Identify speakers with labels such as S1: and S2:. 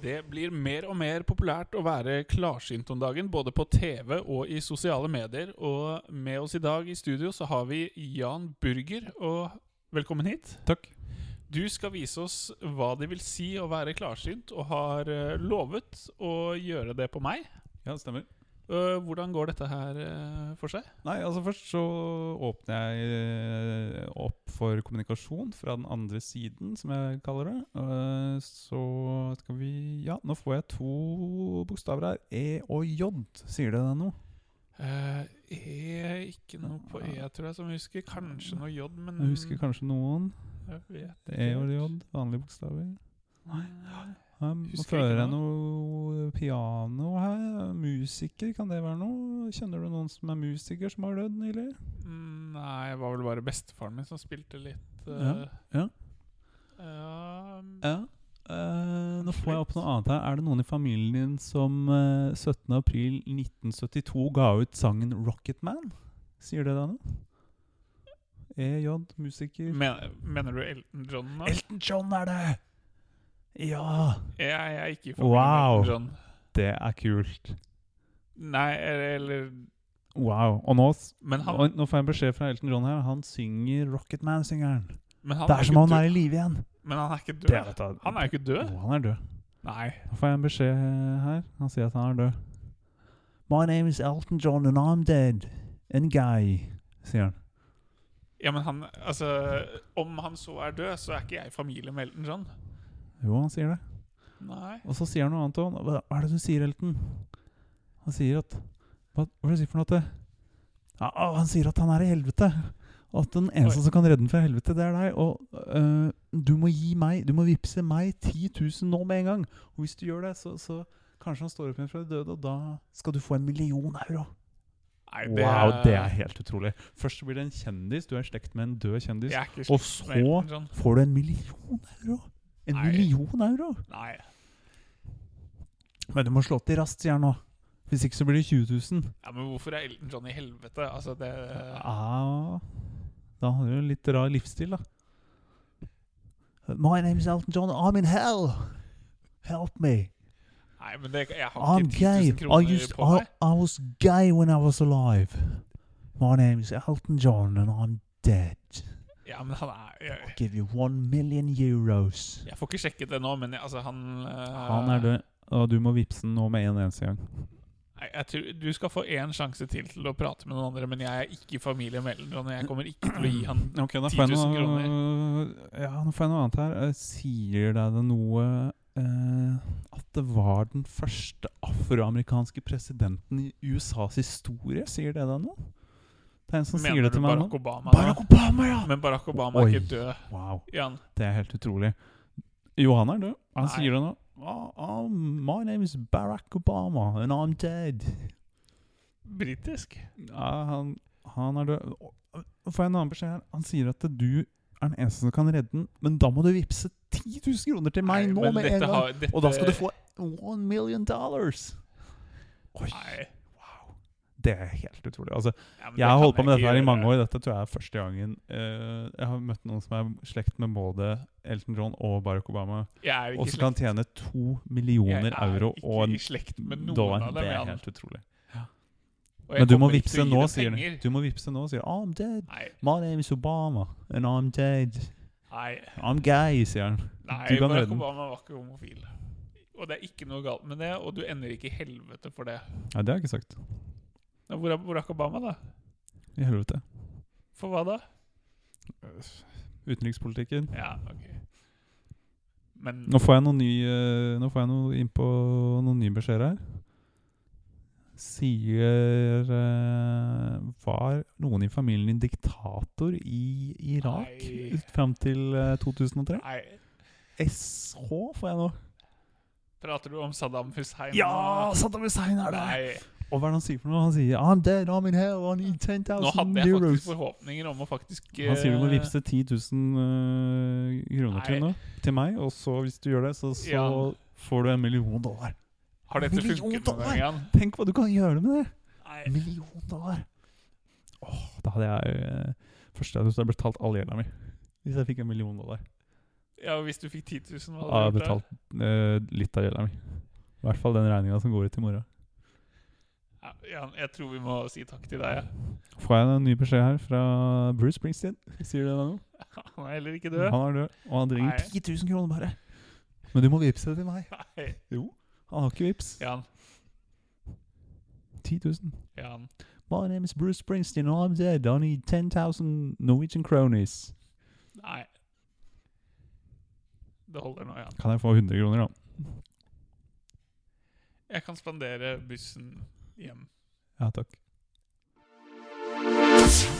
S1: Det blir mer og mer populært å være klarsynt om dagen, både på TV og i sosiale medier. Og med oss i dag i studio så har vi Jan Burger, og velkommen hit.
S2: Takk.
S1: Du skal vise oss hva det vil si å være klarsynt, og har eh, lovet å gjøre det på meg.
S2: Ja, det stemmer.
S1: Eh, Hvordan går dette her eh, for seg?
S2: Nei, altså først så åpner jeg eh, opp for kommunikasjon fra den andre siden, som jeg kaller det. Eh, Så skal vi Ja, nå får jeg to bokstaver her. E og J. Sier det deg noe?
S1: Eh, E, ikke noe på E, tror jeg, som jeg husker. Kanskje noe J, men
S2: Jeg husker kanskje noen.
S1: jeg vet
S2: E og J, vanlige bokstaver.
S1: Nei.
S2: Um, og
S1: Husker
S2: Fører
S1: ikke
S2: jeg noe piano her? Musiker, kan det være noe? Kjenner du noen som er musiker som har dødd nylig?
S1: Nei, det var vel bare bestefaren min som spilte litt
S2: Ja,
S1: eh,
S2: ja.
S1: ehm,
S2: Ja. eh, nå får jeg opp noe annet her. Er det noen i familien din som eh, 17. april 1972 ga ut sangen 'Rocket Man'? Sier det deg noe? EJ, musiker
S1: men, Mener du Elton John nå?
S2: Elton John er det! Ja!
S1: jeg, jeg er ikke i familie
S2: Wow.
S1: med Elton John.
S2: Det er kult.
S1: Nei, eller, eller
S2: Wow. Og nå, s-
S1: Men han,
S2: og nå får jeg beskjed fra Elton John her. Han synger 'Rocket Man'-singeren.
S1: men han
S2: Det er som om
S1: ikke
S2: han er i live igjen.
S1: død. Men han er ikke
S2: Det
S1: død.
S2: er dette.
S1: Han er jo ikke død.
S2: Å, han er død.
S1: Nei.
S2: Nå får jeg en beskjed eh, her. Han sier at han er død. My name is Elton John, and I'm dead. And gay, sier han.
S1: Ja, men han Altså, om han så er død, så er ikke jeg i familie med Elton John.
S2: Jo, han sier det.
S1: Nei.
S2: Og så sier han noe annet òg. Hva hva er det du sier, Elton? Han sier at Hva, hva er det du sier for noe? At det, ja, å, han sier at han er i helvete. Og at den eneste
S1: Oi.
S2: som kan redde ham fra helvete, det er deg. Og øh, du må gi meg Du må vippse meg 10 000 nå med en gang. Og hvis du gjør det, så, så kanskje han står opp igjen fra de døde, og da skal du få en million euro.
S1: Nei
S2: wow, det er helt utrolig. Først så blir det en kjendis, du er i slekt med en død kjendis.
S1: Jeg er ikke
S2: Og
S1: slekt
S2: så
S1: med Elton John.
S2: får du en million euro! En
S1: Nei.
S2: million euro!
S1: Nei.
S2: Men du må slå til raskt, sier han nå. Hvis ikke så blir det 20 000.
S1: Ja, men hvorfor er Elton John i helvete? Altså, det
S2: Ja, da har du jo en litt rar livsstil, da. My name is Elton John. I'm in hell! Help me!
S1: Nei, men det, jeg har
S2: I'm
S1: ikke 10
S2: gay.
S1: 000
S2: I,
S1: kroner
S2: used,
S1: på
S2: I,
S1: meg.
S2: I was gay when I was alive. My name is Elton John, and I'm dead.
S1: Ja, men han er jeg,
S2: Give you one million euros.
S1: jeg får ikke sjekket det nå, men jeg, altså, han eh,
S2: Han er død, og du må vippse den nå med en eneste gang.
S1: Nei, jeg tror, du skal få én sjanse til til å prate med noen andre, men jeg er ikke i familie med Elton John. og Jeg kommer ikke til å gi han
S2: Ok, da
S1: 10 000
S2: Ja, nå får jeg noe annet her. Eh, Sier deg det noe eh, at det var den første afroamerikanske presidenten i USAs historie? Sier det deg noe? Det er en som sier
S1: Mener
S2: det
S1: du
S2: til meg nå.
S1: Barack Obama?
S2: Barack
S1: nå?
S2: Obama, ja!
S1: Men Barack Obama er
S2: Oi.
S1: ikke død,
S2: Wow,
S1: Jan.
S2: det er helt utrolig. Jo, han er død. Han
S1: Nei.
S2: sier det nå. Ah, ah, my name is Barack Obama, and I'm dead.
S1: Britisk?
S2: Ja, han, han er død. Og- og Får jeg en annen beskjed her? Han sier at du er den eneste som kan redde den, men da må du vippse 10 000 kroner til meg
S1: Nei,
S2: nå
S1: men
S2: med
S1: dette
S2: en gang.
S1: har- dette-
S2: Og da skal du få one million dollars! Oi,
S1: Nei.
S2: wow. Det er helt utrolig. Altså,
S1: Ja, men det
S2: jeg har holdt på
S1: kan
S2: med
S1: jeg
S2: dette her i
S1: ikke
S2: mange
S1: gjøre.
S2: år. Dette tror jeg er første gangen eh, jeg har møtt noen som er slekt med både Elton John og Barack Obama,
S1: Jeg er ikke
S2: og
S1: i
S2: som
S1: slekt-
S2: kan tjene to millioner euro
S1: Jeg
S2: og
S1: er
S2: en
S1: ikke i slekt med noen
S2: dollar.
S1: av
S2: Det
S1: dem,
S2: er
S1: Jan.
S2: helt utrolig.
S1: Og jeg
S2: Men du må
S1: kommer ikke
S2: vippse
S1: til å gi
S2: nå,
S1: dem
S2: sier han.
S1: penger.
S2: Du må vippse nå, sier han. I'm dead.
S1: Nei,
S2: My name is Obama, and I'm dead.
S1: nei,
S2: I'm gay, sier han.
S1: nei
S2: Du kan
S1: Barack
S2: redde den.
S1: Obama var ikke homofil. Og det er ikke noe galt med det, og du ender ikke i helvete for det.
S2: Nei, det har jeg ikke sagt.
S1: Ja, Hvor er Barack Obama, da?
S2: I helvete.
S1: For hva da?
S2: Utenrikspolitikken.
S1: Ja, ok. Men
S2: Nå får jeg noe ny eh, Nå får jeg noe innpå noen nye beskjeder her. Sier eh, Var noen i familien din diktator i Irak
S1: Nei.
S2: ut fram til eh, 2003?
S1: nei,
S2: SH får jeg nå.
S1: prater du om Saddam Hussein?
S2: Ja,
S1: nå?
S2: Saddam Hussein er det!
S1: Nei.
S2: Og hva er det han sier for noe? Han sier I'm dead, I'm in hell, I need 10,000
S1: Nå hadde jeg
S2: euros.
S1: faktisk forhåpninger om å faktisk
S2: Han sier du må
S1: eh,
S2: vippse 10 000 øh, kroner til,
S1: Nei.
S2: nå, til meg, og så hvis du gjør det, så, så
S1: Ja.
S2: får du en million dollar.
S1: Har dette
S2: Million
S1: funket noen
S2: dollar!
S1: gang? Jan?
S2: Tenk hva du kan gjøre med det!
S1: Nei.
S2: En million dollar! Åh, eh, da hadde jeg øh, Første jeg hadde betalt all gjelda mi. Hvis jeg fikk en million dollar.
S1: Ja, og Hvis du fikk 10 000, hva
S2: Jeg
S1: hadde
S2: har
S1: du gjort da?
S2: betalt eh, litt av gjelda mi. I hvert fall den regninga som går ut i morgen.
S1: Ja, Jan, jeg tror vi må si takk til deg. Ja.
S2: Får jeg en ny beskjed her fra Bruce Springsteen? Sier det deg noe?
S1: Han er heller ikke død.
S2: Han er død, og han
S1: Nei.
S2: trenger 10 000 kroner bare. Men du må vippse det til meg.
S1: Nei.
S2: Han har ikke vips.
S1: Jan,
S2: 10 000.
S1: Jan.
S2: My name is Bruce Springsteen, and I'm dead. I need 10,000 Norwegian cronies.
S1: Nei. Det holder nå, Jan.
S2: Kan jeg få 100 kroner, da?
S1: Jeg kan spandere bussen hjem.
S2: Ja, takk.